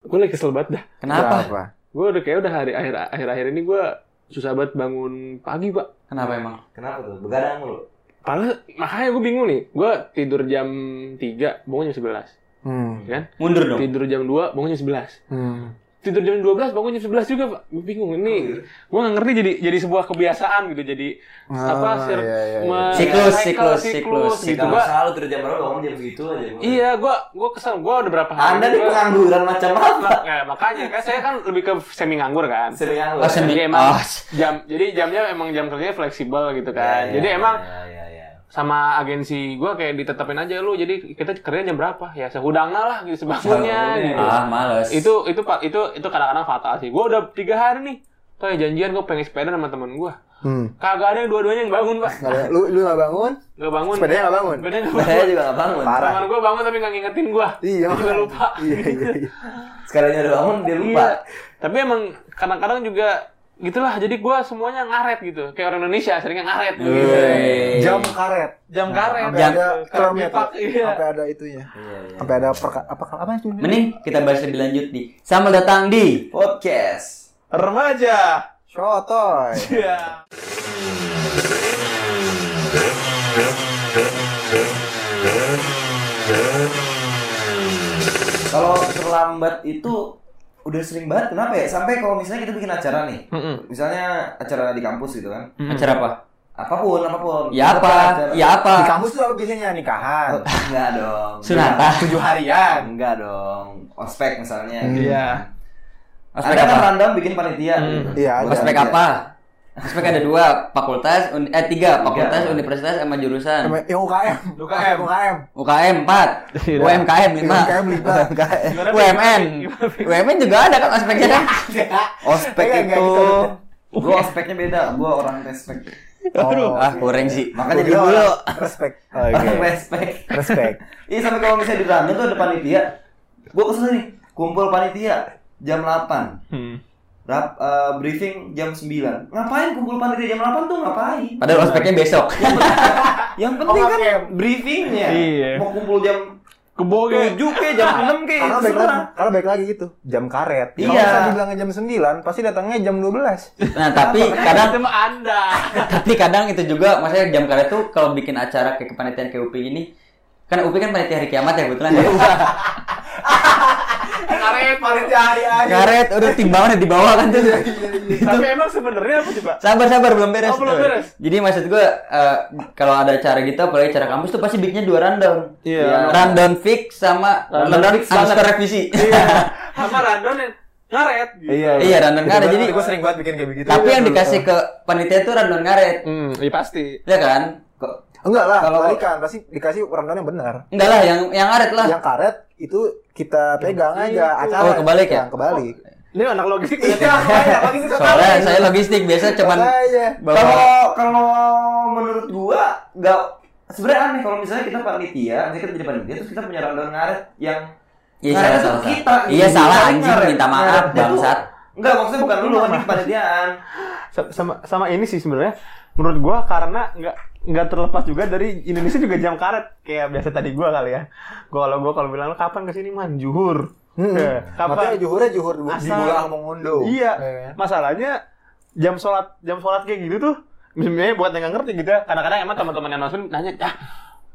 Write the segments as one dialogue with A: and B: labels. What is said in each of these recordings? A: gue lagi kesel banget dah.
B: Kenapa?
C: Kenapa?
A: Gue udah kayak udah hari akhir akhir akhir ini gue susah banget bangun pagi pak.
B: Kenapa emang?
D: Kenapa tuh? Begadang mulu.
A: Padahal makanya gue bingung nih. Gue tidur jam 3, bangun jam 11.
C: Hmm.
B: Mundur dong.
A: Tidur jam 2, bangun jam 11.
C: Hmm.
A: Tidur jam 12, bangun jam 11 juga, Pak. Gue bingung ini. Gue gak ngerti jadi jadi sebuah kebiasaan gitu. Jadi Apa,
C: Ah,
A: Sir?
C: iya, iya, iya.
A: me-
B: Siklus,
A: cycle,
B: siklus, siklus.
A: gitu.
D: Gitu
A: Gua,
D: selalu tidur jam berapa bangun jam segitu aja.
A: iya, gue gua kesel. Gue udah berapa hari.
D: Anda nih
A: gua-
D: pengangguran macam apa?
A: Nah, makanya kan saya kan lebih ke semi nganggur kan.
D: Sering nganggur.
B: Oh, sendiri
A: Jadi emang-
B: emang.
A: Jam jadi jamnya emang jam kerjanya fleksibel gitu
B: Iya,
D: Ya,
A: kan.
D: ya,
A: jadi
D: ya,
A: emang
D: ya, ya, ya.
A: sama agensi gue kayak ditetapin aja lu jadi kita kerja jam berapa ya sehudangnya lah gitu sebangunnya
D: Sebangunnya.
A: gitu.
B: ah, males.
A: itu itu pak itu itu kadang-kadang fatal sih gue udah tiga hari nih kayak janjian gue pengen sepeda sama temen gue
C: Hmm.
A: kagak ada yang dua-duanya yang bangun pak
C: Nggak ada- Lu lu nggak bangun?
A: gak bangun
C: Sepedanya nggak bangun?
A: sepedanya nggak
D: Saya
A: bangun
D: juga gak bangun.
C: Parah.
A: teman gue bangun tapi gak ngingetin gue
C: Iya.
A: Gua lupa.
C: Iya iya. iya.
D: Sekarang udah bangun dia lupa.
A: tapi emang kadang-kadang juga gitulah jadi gue semuanya ngaret gitu kayak orang Indonesia seringnya ngaret gitu.
B: Iya.
C: Iya,
B: Wey.
C: Jam karet.
A: jam karet
C: Sampai
B: Jam-
C: ada kilometer.
A: Pak, iya.
C: Sampai ada itunya.
D: Iya, iya.
C: Sampai ada perka apa apa sih?
B: Mending kita bahas lebih lanjut di. Selamat datang di
D: Podcast.
E: Remaja.
C: Shotoy.
E: Iya.
D: Kalau terlambat itu udah sering banget kenapa ya? Sampai kalau misalnya kita bikin acara nih.
A: Mm-mm.
D: Misalnya acara di kampus gitu kan.
B: acara apa?
D: Apapun, apapun.
B: Ya apa?
D: Acara-
B: Ya apa?
C: Di kampus tuh apa biasanya nikahan.
D: Oh, Enggak dong.
B: Sunatan.
E: Tujuh harian.
D: Enggak dong. Ospek misalnya.
E: Iya.
B: Ospek
D: Ada kan
B: apa?
D: random bikin panitia.
A: Hmm.
D: gitu.
C: Iya, ada.
B: Ospek
C: Iya.
B: apa? Ospek ada dua, fakultas, un- eh tiga, fakultas,
D: Tiga.
B: universitas, sama
C: Sama
B: jurusan.
C: yang UKM.
E: UKM.
C: UKM.
B: UKM empat, UMKM lima,
C: UKM lima.
A: Gimana,
B: UMN, UMN juga ada kan ospeknya kan?
D: Ospek
C: Enggak, enggak, kita beda.
D: itu. gitu. Gua ospeknya beda. Gua orang respect.
C: Oh,
B: ah kurang sih.
D: Makanya
C: Gua
D: dulu
C: bilang
D: lo
C: respect.
D: orang respect.
C: Respect.
D: Iya sampai kalau misalnya di random tuh ada panitia. Gua kesel nih. Kumpul panitia jam 8.
A: Hmm.
D: Rap, eh, briefing jam 9. Ngapain kumpul panitia jam 8 tuh ngapain?
B: Padahal ospeknya besok.
D: Yang penting kan
C: OKM.
D: briefingnya.
A: Iya.
D: Mau kumpul jam
A: keboge
D: 7 kayak jam 6 kayak
B: gitu.
C: Karena baik lagi,
D: terserah.
C: karena baik lagi gitu. Jam karet. Kalau
D: Iya.
C: misalnya dibilangnya jam 9, pasti datangnya jam 12.
B: Nah tapi kadang
A: itu mah anda
B: tapi kadang itu juga maksudnya jam karet tuh kalau bikin acara kayak kepanitiaan kayak UPI ini kan UPI kan panitia hari kiamat ya kebetulan ya.
A: karet
E: Panitia hari akhir.
B: karet udah timbangan di bawah kan tuh
A: tapi emang sebenarnya apa sih pak
B: sabar sabar belum beres,
A: Oh, belum
B: tuh.
A: beres.
B: jadi maksud gue eh, kalau ada acara gitu apalagi acara kampus tuh pasti bikinnya dua rundown
A: Iya.
B: Ya, rundown fix sama
A: Rundown
B: rundown
A: fix
B: abis
A: banget.
B: revisi
A: sama random yang ngaret gitu.
B: Iya, rundown karet. Jadi-
C: gue sering banget bikin kayak begitu. Iya,
B: tapi yang dikasih ke panitia tuh rundown karet
A: Hmm, iya pasti.
B: ya kan
C: enggak lah, kalau
B: Kalau-
C: kan pasti dikasih rundown yang benar.
B: enggak lah yang yang karet lah
C: Yang karet itu kita pegang aja acara.
B: Ah. Oh, kebalik ya?
C: Yang kebalik.
A: Ini anak logistik.
C: Iya, lagi
B: soalnya saya logistik biasa cuman
C: Makanya.
B: bawa
D: Kalau kalau menurut gua nggak sebenarnya aneh kalau misalnya kita panitia, misalnya kita jadi panitia terus kita punya rundown ngaret yang
B: Iya salah,
D: ngaretnya tuh
B: salah, salah.
D: kita.
B: Iya
D: gitu.
B: salah
D: Ngaret-
B: anjing minta maaf
D: ngaretnya tuh-
B: bangsat.
D: Enggak, maksudnya bukan lu anjing kepanitiaan.
A: Sama sama ini sih sebenarnya menurut gua karena nggak nggak terlepas juga dari Indonesia juga jam karet kayak biasa tadi gua kali ya. Gua kalau gua kalau bilang "Lu kapan kesini manjur.
C: Hmm. Makanya
A: Kapan?
C: juhurnya juhur di
A: Asal.
C: bulan mengunduh.
A: Iya.
C: kan?
A: Masalahnya jam sholat jam sholat kayak gitu tuh sebenarnya buat yang nggak ngerti gitu ya. kadang-kadang emang teman-teman yang masuk nanya ah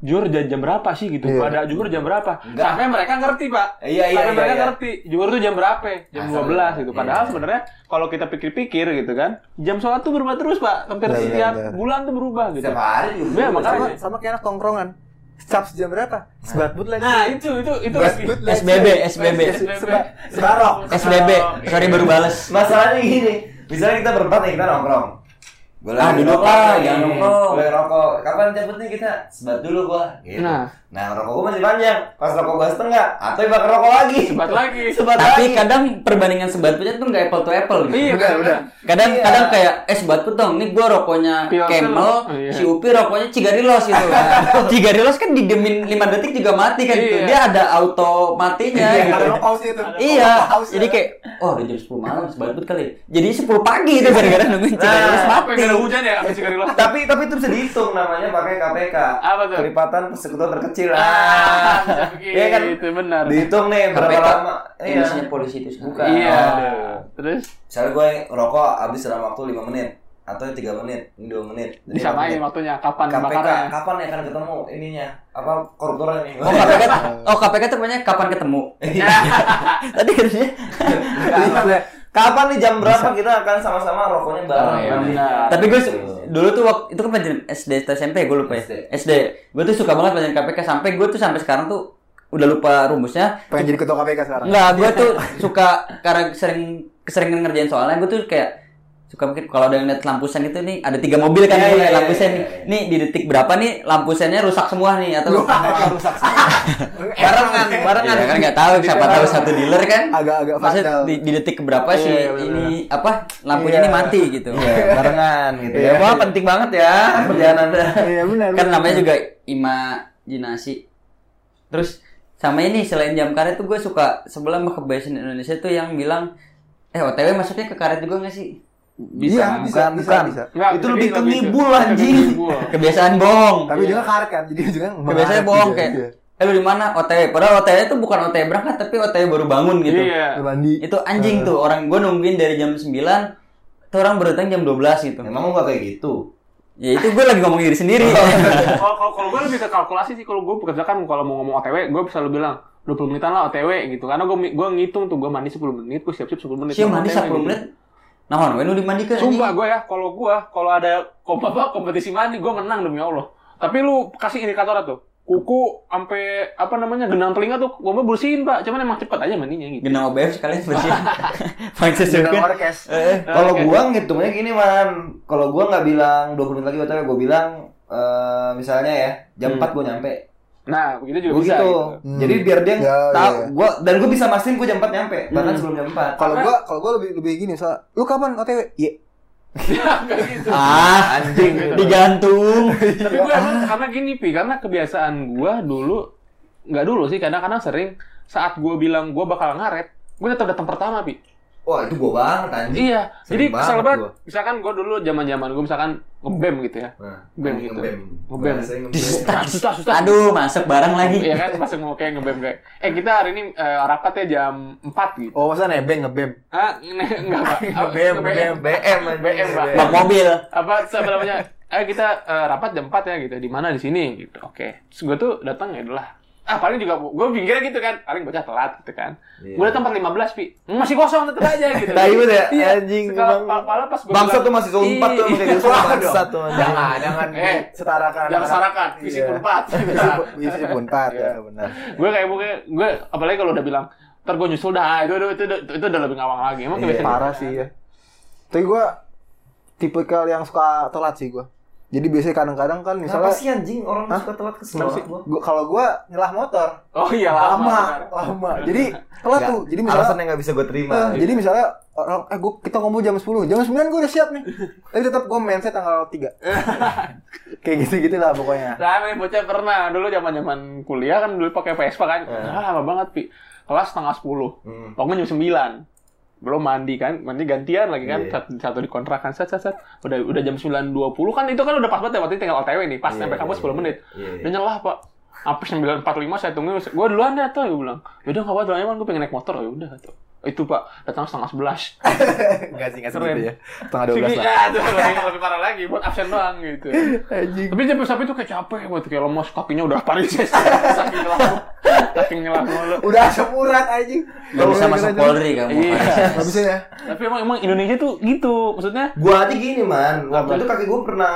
A: Jur jam, jam berapa sih gitu?
C: Iya.
A: Pada juhur jam berapa?
D: Enggak.
A: Sampai mereka ngerti, Pak.
D: Iya, iya,
A: Sampai
D: iya,
A: mereka
D: iya.
A: ngerti. Juhur tuh jam berapa? Jam 12
D: Asal.
A: gitu. Padahal
D: Iya.
A: sebenarnya kalau kita pikir-pikir gitu kan, jam sholat tuh berubah terus, Pak. Hampir
C: Iya, iya,
A: setiap
C: iya.
A: bulan tuh berubah gitu.
D: Setiap hari juga.
A: Iya, makanya.
C: Sama, sama kayak anak tongkrongan. Cap jam berapa? Sebatbut lagi.
A: Nah, itu itu itu lagi.
B: SBB, SBB.
C: Seba- Sebarok.
B: SBB, sorry baru bales.
D: Masalahnya gini, misalnya kita berempat nih kita nongkrong. Boleh
B: Ah, duduk lah,
D: nih.
B: jangan nongkrong.
D: Boleh rokok. Kapan cabut nih kita? Sebat dulu gua. Gitu.
A: Nah.
D: Nah, rokok gua masih panjang. Pas rokok gua setengah, atau bakar rokok lagi.
A: Sebat lagi.
D: Sebat
B: Tapi
D: lagi.
B: kadang perbandingan sebat punya tuh nggak apple to apple gitu.
A: Iya, udah, udah.
B: Kadang
D: Iya.
B: kadang kayak eh sebat pun dong, nih gua rokoknya
A: Pilsen.
B: Camel,
A: Iya.
B: si Upi rokoknya Cigarilos gitu. Nah, Cigarilos kan didemin 5 detik juga mati kan gitu.
A: Iya.
B: Dia ada auto matinya gitu.
C: Ada pause itu.
B: Iya, oh,
C: Pause.
B: jadi kayak, wah udah jam 10 malam, sebat pun kali. Jadi 10 pagi itu gara-gara nungguin
D: Nah,
B: Cigarilos mati.
A: Apa yang udah hujan ya habis dari lo.
D: tapi tapi itu bisa dihitung namanya pakai KPK.
A: Apa tuh?
D: Kelipatan persekutuan terkecil.
A: Ah, gitu.
D: Iya kan?
A: Itu benar.
D: Dihitung nih berapa
B: KPK.
D: lama. Iya.
B: Indonesia polisi itu sekarang.
D: Bukan.
A: Iya.
D: Oh.
A: Terus
D: Misalnya gue rokok habis dalam waktu 5 menit atau 3 menit, 2 menit. Jadi
A: disamain
D: lima menit.
A: waktunya kapan
D: KPK
A: bakarnya.
D: Iya, kapan ya akan ketemu ininya? Apa koruptornya nih? Iya.
B: Oh KPK, oh KPK tuh namanya kapan ketemu? Tadi katanya
C: Iya.
D: Kapan nih jam berapa kita akan sama-sama rokoknya bareng?
B: Oh, iya,
D: nanti?
A: benar.
B: Tapi gue su- dulu tuh waktu itu kan pelajaran SD atau SMP gue lupa ya.
D: SD.
B: SD. Gue tuh suka banget pelajaran KPK sampai gue tuh sampai sekarang tuh udah lupa rumusnya.
C: Pengen jadi ketua KPK sekarang.
B: Enggak, gue tuh suka karena sering keseringan ngerjain soalnya gue tuh kayak suka mungkin kalau ada yang lihat lampu sen itu nih ada tiga mobil kan
D: Iya,
B: gue
D: iya,
B: liat
D: iya,
B: lampu sen
D: iya,
B: nih.
D: iya.
B: Nih di detik berapa nih lampu sennya rusak semua nih atau
C: rusak semua.
D: iya,
B: barengan, barengan. kan nggak tahu siapa tahu satu dealer kan.
C: Agak-agak
B: Maksudnya
C: fatal.
B: di, di detik berapa sih ini apa lampunya
C: Iya.
B: ini mati gitu.
D: Iya, barengan gitu ya.
C: Iya.
D: Wah, penting banget ya kerjaan Anda.
C: Iya benar.
B: kan
C: benar.
B: namanya juga imajinasi terus sama ini selain jam karet tuh gue suka sebelah sama kebiasaan Indonesia tuh yang bilang eh OTW masuknya ke karet juga gak sih
A: Bisa.
C: Iya, bisa,
D: bukan,
C: bisa,
D: bukan.
C: bisa.
A: Nggak,
D: Itu
A: jadi
D: lebih ke
A: itu.
D: ngibul,
A: Lebih ke
D: anjing.
A: ngibul.
B: kebiasaan bohong
C: Tapi iya, dia karet kan, jadi juga
B: kebiasaan bohong kayak eh lu di mana OTW padahal OTW itu bukan OTW berangkat tapi OTW baru bangun gitu
A: Iya.
C: mandi.
B: itu anjing tuh
C: Eh.
B: orang gue nungguin dari jam 9 tuh orang baru datang jam 12 gitu
D: Iya. Emang gua kayak gitu.
B: ya itu gue lagi ngomong diri sendiri
A: Kalau kalau kalau gue lebih ke kalkulasi sih kalau gue pekerjakan kalau mau ngomong OTW gue selalu bilang 20 menitan lah OTW gitu karena gue gue ngitung tuh gue mandi 10 menit gue siap-siap 10 menit
B: siapa mandi
A: OTW
B: 10
A: gitu.
B: menit nah lu dimandikan anjing.
A: Sumpah gue ya, kalau gue, kalau ada kom apa, kompetisi mandi, gue menang demi Allah. Tapi lu kasih indikator tuh. Kuku sampai apa namanya genang telinga tuh gue bersihin pak, cuman emang cepet aja mandinya gitu.
B: Genang OBF sekalian bersih. Fangsis juga.
C: orkes.
B: Eh,
D: Kalau
A: Oke.
D: gua ngitungnya gini, Man. Kalau gua nggak bilang 20 menit lagi OTW, gua bilang eh, misalnya ya
A: Hmm.
D: jam 4 gua nyampe.
A: Nah begitu juga
D: Gua
A: bisa.
D: gitu.
A: Gitu.
C: Hmm.
D: Jadi biar dia
C: Ya,
D: tahu
C: iya.
D: gua dan gua bisa mastiin gua jam 4 nyampe, bahkan
A: Hmm.
D: sebelum jam 4.
C: Kalau gua kalau gua lebih lebih gini soal lu kapan OTW? Iya.
A: Kayak gitu.
B: ah, anjing digantung.
A: Tapi gue emang
D: Ah.
A: karena gini pi, karena kebiasaan gue dulu nggak dulu sih, kadang-kadang sering saat gue bilang gue bakal ngaret, gue tetap datang pertama pi.
D: Wah, itu gua banget anjing.
A: Iya, jadi
D: Sering
A: kesel
D: banget
A: banget.
D: gua.
A: Misalkan gue dulu zaman-zaman gue misalkan ngebem gitu ya,
D: Nah,
A: Ngebem gitu. Ngebem.
D: Saya ngebem.
B: Distrust.
A: Susah, susah.
B: Aduh, masuk barang lagi.
A: Iya kan masuk mau kayak ngebem kayak. Eh kita hari ini eh, rapatnya jam 4 gitu.
C: Oh, masa nebeng ngebem.
A: Ah, ini enggak Pak. Apa-
C: BM,
A: BM.
D: BM anjing.
A: BM, Pak.
B: Bak mobil.
A: Apa apa namanya? Eh kita eh, rapat jam 4 ya gitu. Di mana di sini gitu. Oke. Terus gue tuh datang ya adalah ah paling juga gue pinggirnya gitu kan paling bocah telat gitu kan
D: Iya.
A: gue datang 4.15 pi masih kosong tetep aja gitu
D: Tai banget ya,
A: iya
C: anjing,
A: Sekal-
C: emang.
A: pal- pala pas "Iya." gue
D: Bangsa tuh masih zone 4 tuh kayak gitu. Bangsa tuh anjing.
C: Jangan, jangan
A: Eh,
C: setarakan.
A: jangan sarakan visi
C: Iya.
A: empat
C: Visi empat
A: Iya.
C: ya benar.
A: gue kayak gue gue apalagi kalau udah bilang ntar gue nyusul dah itu itu itu, itu, itu udah lebih ngawang lagi emang
C: Iya,
A: kebiasaan
C: parah sih ya. Tapi gua tipikal yang suka telat sih gua. Jadi biasanya kadang-kadang kan
D: Kenapa
C: misalnya
D: sih anjing orang
C: Hah?
D: suka telat kesel banget gua?
C: gua kalau gua nyelah motor
A: oh iya
C: lama, lama. Jadi telat
D: Nggak,
C: tuh. Jadi misalnya
D: Alasan yang nggak bisa gua terima.
C: Eh, jadi misalnya orang eh gua, kita ngomong jam 10, jam 9 gua udah siap nih. Tapi tetap gua mindset tanggal 3. Kayak gitu-gitu lah pokoknya.
A: Nah, ini bocah pernah dulu zaman zaman kuliah kan dulu pakai Vespa kan.
D: Iya.
A: Ah, lama banget, Pi. Kelas setengah sepuluh.
D: Hmm.
A: Bangun jam sembilan. Belum mandi kan, mandi gantian lagi kan,
D: Iya.
A: satu, satu di kontrakan, set, set, set. Udah, udah jam 9.20 kan, itu kan udah pas banget ya, waktu itu tinggal OTW nih, pas
D: Iya,
A: sampai kampus
D: iya,
A: 10 menit.
D: iya, iya.
A: Udah nyelah, Pak. Apa 9.45 saya tunggu, gue duluan deh, tuh, gue bilang. Yaudah, gak apa-apa, Doain, Man, gue pengen naik motor, yaudah, tuh. Itu, Pak, datang setengah sebelas.
C: Enggak sih, enggak
A: Keren.
C: ya. Setengah
A: Sini, ya, tuh, lebih, lebih parah lagi, buat absen doang, gitu.
C: Anjing.
A: Tapi sampai sampai itu kayak capek buat kayak lemas kakinya udah parises saking nyelam saking nyelam mulu.
C: Udah asap urat anjing.
B: Gak bisa masuk Polri kamu.
A: Iya.
C: Enggak bisa ya.
A: Tapi emang emang Indonesia tuh gitu maksudnya.
D: Gua aja gini
A: Apa?
D: man,
A: Hmm.
D: waktu itu kaki gua pernah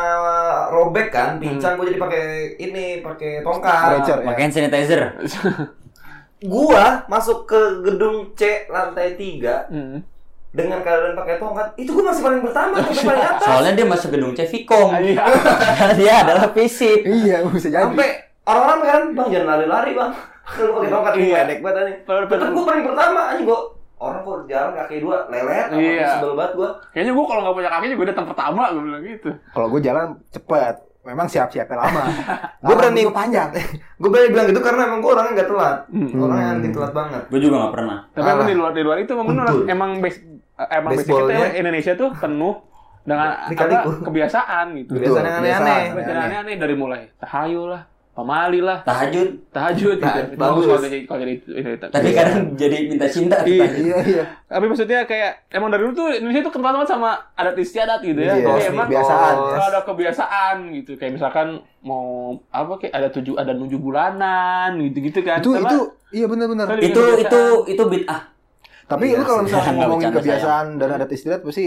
D: robek kan, pincang gua jadi pakai ini, pakai tongkat.
C: Stretcher ya.
B: Pakaiin sanitizer.
D: Gua masuk ke gedung C lantai 3
A: Hmm.
D: dengan keadaan pakai tongkat, itu gua masih paling pertama, sampai paling atas.
B: Soalnya dia masuk gedung Cevikom.
A: Iya.
B: dia adalah fisik.
C: Iya, bisa jadi.
D: Sampai orang-orang kan, bang jangan lari-lari bang, Kan kalau pakai tongkat ini
A: Iya.
D: pendek banget anjing.
A: Bener, bener.
D: Tetep gua paling pertama anjing gua orang kok jalan kaki dua lelet, apa,
A: Iya.
D: sebel banget gua.
A: Kayaknya gua kalau nggak punya kaki juga datang pertama gua bilang gitu.
C: Kalau gue jalan cepet, memang siap-siapnya lama.
D: Gua berani-
C: Lama, gua panjang.
D: Gue berani bilang gitu karena emang gua orangnya gak telat,
A: Hmm.
D: orangnya anti telat banget.
B: Gue juga gak pernah.
A: Tapi emang
D: Parah.
A: di luar di luar itu emang bener
D: Untul.
A: emang base, emang basic kita
D: Baseballnya.
A: emang Indonesia tuh penuh dengan
D: Lika-liku.
A: apa, kebiasaan gitu.
C: Betul,
D: Kebiasaan yang aneh-aneh.
C: kebiasaan.
A: Kebiasaan aneh dari mulai tahayul lah, pamali lah,
B: Tahajud.
A: tahajud
D: Nah,
A: gitu. Itu
D: bagus.
A: kalau jadi kalau jadi itu- itu.
B: Tapi kadang jadi minta cinta.
A: Iya.
B: tahajud.
C: Iya iya.
A: Tapi maksudnya kayak emang dari dulu tuh Indonesia tuh kental banget sama adat istiadat gitu ya.
C: Iya,
A: Jadi
C: sih,
A: emang
C: kebiasaan.
A: kalau ada kebiasaan gitu kayak misalkan mau apa kayak ada tujuh ada tujuh bulanan gitu-gitu kan.
C: Itu
A: Sama-
C: itu iya benar-benar.
A: Sorry.
B: Itu itu itu bid'ah.
C: Tapi
D: Iya
C: lu kalau
D: sih.
C: misalnya
B: Nggak
C: ngomongin
B: bercanda,
C: kebiasaan dan adat istiadat pasti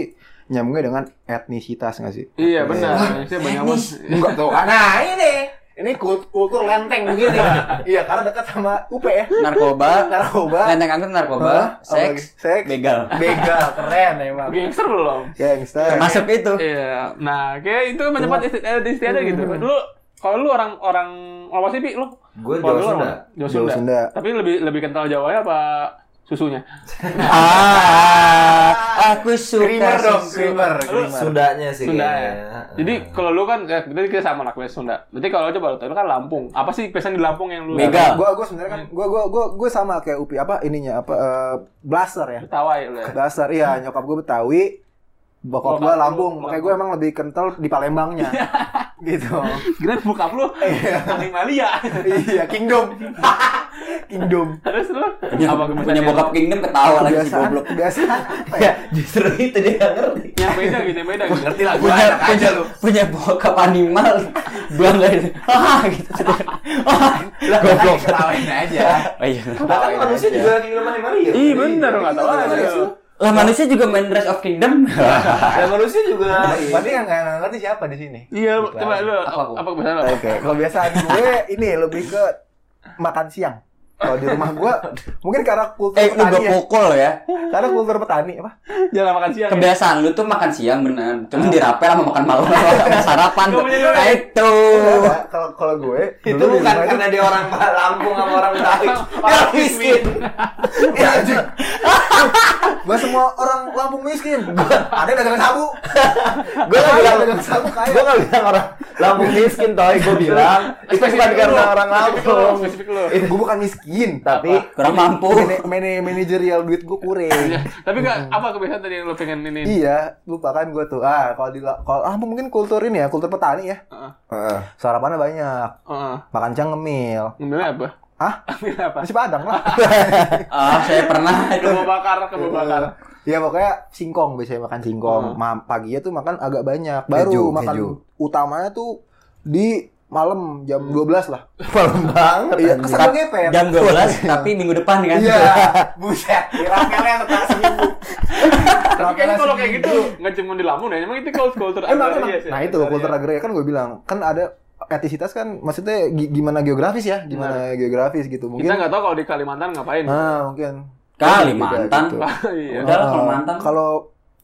C: nyambungnya dengan etnisitas nggak sih?
A: Iya benar. Indonesia banyak banget.
C: Enggak tahu. Ah,
D: Nah ini
C: Ini kul- kultur lenteng begini. iya, karena dekat sama UP ya.
A: Iya.
B: Narkoba.
C: Narkoba,
B: Lenteng angkut narkoba,
C: apa lagi?
B: seks,
C: seks,
B: begal.
C: begal, keren emang.
A: Gangster belum.
C: Gangster.
B: Masuk itu.
A: Iya. Nah, kayak itu mencepat isti- adat istiadat gitu. Lu kalau lu orang orang apa sih, Pi? Lu
D: gue
A: kalau
D: Jawa
A: lu
D: Sunda.
A: orang Jawa
C: Jawa
A: Sunda.
C: Sunda.
A: Tapi lebih lebih kental Jawanya apa susunya?
B: Ah, aku
C: Krimer
B: suka
C: dong,
B: susu.
C: krimer,
A: Lu-
C: krimer.
D: Sundanya sih.
A: Sunda
D: kayaknya.
A: ya. Jadi kalau lu kan ya, berarti kita sama lah kelas Sunda. Berarti kalau lu coba lu lu kan Lampung. Apa sih pesan di Lampung yang lu
B: Mega.
C: Gua gua sebenarnya kan gua gua gua gua sama kayak Upi apa ininya apa eh, blaster ya.
A: Tawa ya lu ya.
C: Blaster iya, nyokap gua Betawi, bokap gua
A: Bokap lu
C: Oh, Lampung. Makanya gua
A: Lampung.
C: emang lebih kental di Palembangnya. gitu.
A: Kira bokap lu ya. Kang Malia.
C: iya, kingdom. kingdom.
A: Terus lu
B: Punya,
A: apa
B: punya
A: kebiasaan
B: bokap kingdom ketawa lagi si
C: Kebiasaan,
B: goblok.
C: kebiasaan apa ya?
D: Ya, justru itu dia nggak ngerti.
A: yang yang beda gitu, yang beda gitu.
D: Ngerti lah, gue
B: Punya
D: anak aja
B: punya,
D: lu.
B: punya bokap animal. Bangga gitu. Ah gitu. Ah, Goblok.
D: Ketawain aja.
B: Oh iya.
D: Bahkan kan manusia juga lagi ngelemahin Mario.
A: Ih, bener enggak tahu Iya,
D: Ngelemahin
A: aja.
D: Mario.
B: Lah manusia juga main Dress of Kingdom.
D: Dan manusia juga.
C: Berarti yang nggak nggak ngerti siapa di sini?
A: Iya, coba lu
B: Apa gua?
A: apa kebiasaan lu?
C: Oke, kebiasaan gue ini lebih ke makan siang. Kalau di rumah gue, mungkin karena kultur
B: eh lu
C: petani
B: gak
D: Iya.
C: ya.
B: pukul ya.
C: Karena kultur petani apa?
A: Jangan makan siang. ya.
B: Kebiasaan lu tuh makan siang bener. Cuman dirapel sama makan malam sama sarapan. Nah, itu.
C: Enggak, Kalau kalau gue dulu
D: Itu
C: di
D: bukan
C: rumah itu-
D: karena dia orang Lampung sama orang Betawi. Ya
A: Orang
D: Dia Iya, miskin.
C: Eh, anjing. Gak semua orang Lampung miskin. Ada yang dagang sabu.
D: Gue
C: Ada
D: nggak
C: yang
D: bilang
C: dagang sabu kaya.
D: gue nggak bilang orang Lampung miskin, toy. Gue bilang itu bukan
A: Spesifik
D: karena
A: lu,
D: orang
A: spesifik lu,
D: Lampung.
A: Spesifik lu.
C: Eh, gue bukan miskin, tapi
B: Kurang mampu.
C: mane- mane- manajerial duit gue kurang.
A: Iya, Tapi nggak apa kebiasaan tadi yang lu pengen ini?
C: Iya, lupa kan gue tuh. Ah, kalau di kalau ah mungkin kultur ini ya, kultur petani ya.
A: Heeh.
C: Heeh. Sarapannya banyak,
A: Heeh.
C: makan cemil.
A: Ngambilnya apa?
C: Hah?
A: Ngambilnya apa?
C: Nasi padang lah.
B: Ah, saya pernah itu.
A: Kebo bakar,
D: Kan
A: kebo bakar.
C: Iya pokoknya singkong biasanya makan singkong. Ma- paginya tuh makan agak banyak. Baru
D: Hmm. Keju,
C: makan
D: keju.
C: utamanya tuh di malam jam 12 lah.
D: Hmm. Malam banget.
C: Iya,
D: anjing.
C: keserang ngepet.
B: Jam 12 tapi minggu depan kan.
C: Iya, buset. Kira-kira yang tetap seminggu.
A: Tapi kayaknya kalau kayak gitu nggak cuma di Lampung ya, emang itu kalau kultur
C: Emang,
A: agraria
C: emang.
D: Iya,
A: sih, Iya.
C: Nah itu
A: agraria.
C: kultur agraria kan gue bilang kan ada etisitas kan maksudnya gi- gimana geografis ya gimana
D: Nah.
C: geografis gitu
A: Kita
C: mungkin
A: nggak tahu kalau di Kalimantan ngapain.
C: ah mungkin
B: Kalimantan.
C: Gitu.
A: Iya.
B: Udah lah kalau
C: Ah,
B: mantan.
C: kalau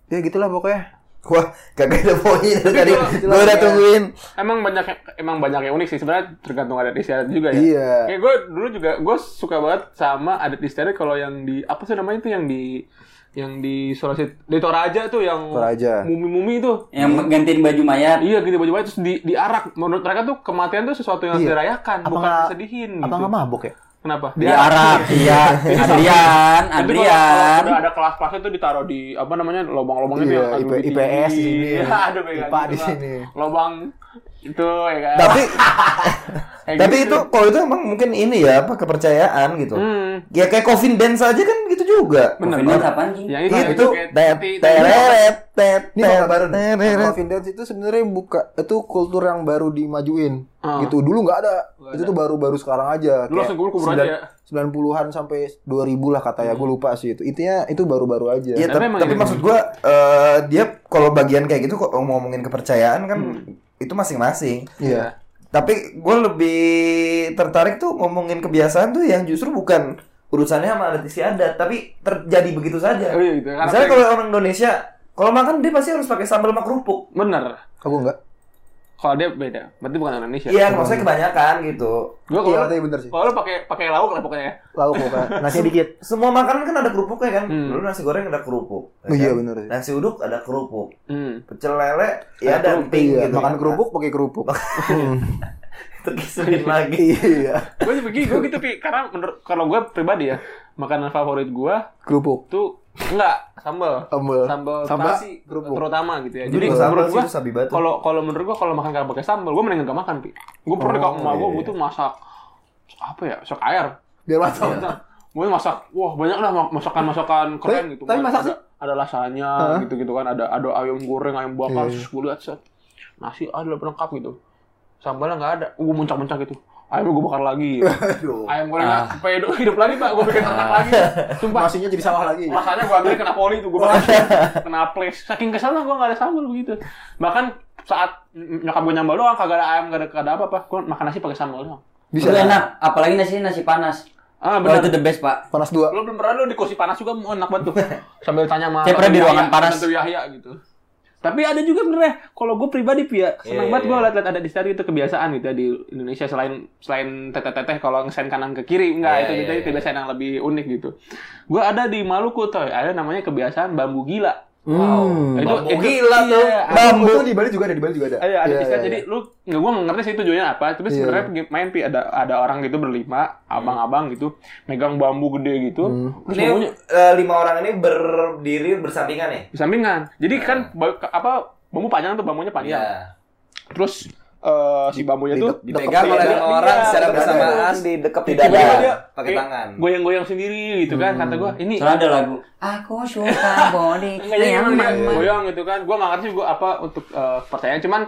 C: ya gitulah pokoknya
D: Wah, kagak ada poin dari tadi.
A: kalau-
D: Gue udah
C: iya.
D: tungguin.
A: Emang banyak emang banyak yang unik sih sebenarnya tergantung adat istiadat juga ya.
C: iya
A: Kayak gue dulu juga gue suka banget sama adat istiadat kalau yang di apa sih namanya itu yang di yang di Sulawesi di Toraja tuh yang
C: Toraja.
A: mumi-mumi itu.
B: Yang gantiin baju mayat.
A: Iya gitu baju-baju terus di diarak. Menurut mereka tuh kematian tuh sesuatu yang harus
C: Iya.
A: dirayakan,
C: Apa
A: bukan
C: nggak-
A: disedihin
C: apa
A: gitu.
C: nggak mabok ya
A: Kenapa?
B: Di Arab, iya. Adrian,
A: Tapi kalau- kalau
B: Adrian.
A: udah ada kelas-kelasnya tuh ditaruh di apa namanya lobang-lobangnya
C: Iya,
A: tuh yang
C: IP- IPS di sini.
A: Iya, ada pegang
C: IPA di
A: gitu lah.
C: sini. Nah,
A: Lobang itu ya kan.
D: Tapi
A: Kayak
D: tapi
A: gitu.
D: itu kalau itu emang mungkin ini ya apa kepercayaan gitu.
A: hmm,
D: Ya kayak Coffin Dance aja kan gitu juga.
A: bener
B: Ini
A: banget.
B: apaan sih?
A: Yang itu,
D: Itu,
A: Nah, itu
D: itu
A: kayak
D: tet
A: ti- ti-
D: tereret tet
C: ini bakal baru nih.
D: tereret.
C: Coffin dance itu sebenarnya buka itu kultur yang baru dimajuin
A: Ah.
C: gitu dulu nggak ada
A: Nggak
C: itu
A: ada.
C: tuh baru-baru sekarang aja
A: Dulu langsung kubur aja ya.
C: 90-an sampai 2000 lah kata ya gue lupa sih itu intinya itu baru-baru aja
D: Iya,
A: Tapi
D: tapi,
A: emang
D: tapi
A: gitu.
D: maksud gua eh, dia kalau bagian kayak gitu kok ngomongin kepercayaan kan
A: Hmm.
D: itu masing-masing.
C: iya
D: Tapi gue lebih tertarik tuh ngomongin kebiasaan tuh yang justru bukan urusannya sama adat istiadat, tapi terjadi begitu
A: Oh
D: saja.
A: iya gitu. Karena
D: Misalnya
A: kayak-
D: kalau orang Indonesia, kalau makan dia pasti harus pakai sambal sama kerupuk.
A: Bener.
C: aku nggak
A: Kalau dia beda, berarti bukan Indonesia.
D: Iya, maksudnya kebanyakan gitu.
A: Gua
C: iya
A: kalau
C: katanya bener sih
A: kalau lu pakai pakai lauk lah pokoknya. ya.
C: lauk bukan nasi dikit
D: Semua makanan kan ada kerupuknya kan.
A: Hmm.
D: Dulu nasi goreng ada kerupuk. ya
C: Oh, iya
D: kan?
C: bener sih
D: Nasi uduk ada kerupuk.
A: Hmm.
D: Pecel lele ya ada
A: kerupuk,
D: emping
C: Iya,
D: gitu. Nah,
C: makan kerupuk pakai kerupuk
D: terkeselin lagi.
C: iya
A: Gue juga gue gitu pi. Karena menurut kalau gue pribadi ya makanan favorit gue
C: kerupuk
A: tuh Enggak, sambal.
C: Sambal.
A: Sambal
C: Sambal,
A: terasi
C: kerupuk.
A: terutama gitu ya.
D: Gua
A: Jadi
D: juga sambal
A: menurut
D: sih,
A: gua
D: itu sabi banget.
A: kalau kalau menurut gua kalau makan kagak pakai sambal, gua mendingan gak makan, Pi. Gua pernah
D: Oh,
A: kalau emak gua
D: iya,
A: gua tuh masak apa ya? Masak air.
C: Biar matang.
A: Iya. Gue masak, wah banyak lah ma- masakan-masakan keren
C: Iya. Tapi-
A: gitu.
C: tapi masak
A: ada,
C: sih?
A: ada lasanya
C: Hah?
A: gitu-gitu kan, ada ada ayam goreng, ayam bakar,
C: Iya, iya.
A: terus gue liat set. Nasi ada lengkap gitu. Sambalnya nggak ada. Gue muncak-muncak gitu. Ayamnya gue bakar lagi. gitu. Ayam goreng
C: Ah.
A: supaya hidup, hidup lagi, Pak. Gue bikin ternak lagi. Sumpah.
C: Nasinya jadi sawah lagi.
A: Rasanya gue ambil kena poli tuh, gue bakar. kena place. Saking kesana gue nggak ada sambal begitu. Bahkan saat mm, nyokap gue nyambal doang, kagak ada ayam, kagak ada, kagak ada apa-apa. Gue makan nasi pakai sambal doang.
B: Bisa enak, apalagi nasi nasi panas.
A: Ah,
B: Wah,
A: benar.
B: itu the best, Pak.
C: Panas dua.
A: Lo belum pernah lo di kursi panas juga mau enak banget tuh. Sambil tanya sama
B: Saya pernah di
A: Yahya,
B: ruangan panas.
A: Tentu Yahya gitu. Tapi ada juga sebenarnya kalau gue pribadi pia senang
D: Iya,
A: banget
D: iya,
A: gue
D: iya.
A: liat-liat ada di itu kebiasaan gitu ya di Indonesia selain selain teteh-teteh kalau ngesen kanan ke kiri enggak
D: Iya,
A: itu
D: iya,
A: gitu
D: iya.
A: kebiasaan yang lebih unik gitu. Gue ada di Maluku tuh ada namanya kebiasaan bambu gila.
C: Hmm.
D: Bambu
A: iya,
D: gila tuh.
A: ada-
C: Bambu itu di Bali juga ada, di Bali juga ada.
A: ada ada
C: Iya,
A: istilah
C: iya,
A: jadi
C: iya.
A: lu nggak gua nggak ngerti sih tujuannya apa tapi
C: Iya.
A: sebenarnya pegi- main pi ada ada orang gitu berlima abang-abang gitu megang bambu gede gitu terus
D: Ini
A: bambunya
D: eh, lima orang ini berdiri bersampingan ya?
A: di sampingan. Jadi kan ba- ke- apa bambu panjang tuh bambunya
D: Iya.
A: panjang. Terus eh, si bambunya tuh
D: Dipegang
A: Iya,
D: oleh
A: iya,
D: lima orang
A: iya,
D: secara
A: iya.
D: bersamaan di dekat di
A: Tiba-tiba dia
D: dada pakai
A: kayak
D: tangan.
A: Goyang-goyang sendiri gitu kan kata gua. Ini
B: Soalnya ada lagu. Aku suka body
A: Nggak, jadi
B: yang
A: emang dia
B: mama.
A: goyang gitu kan. Gua nggak ngerti gua apa untuk eh, percayaan cuman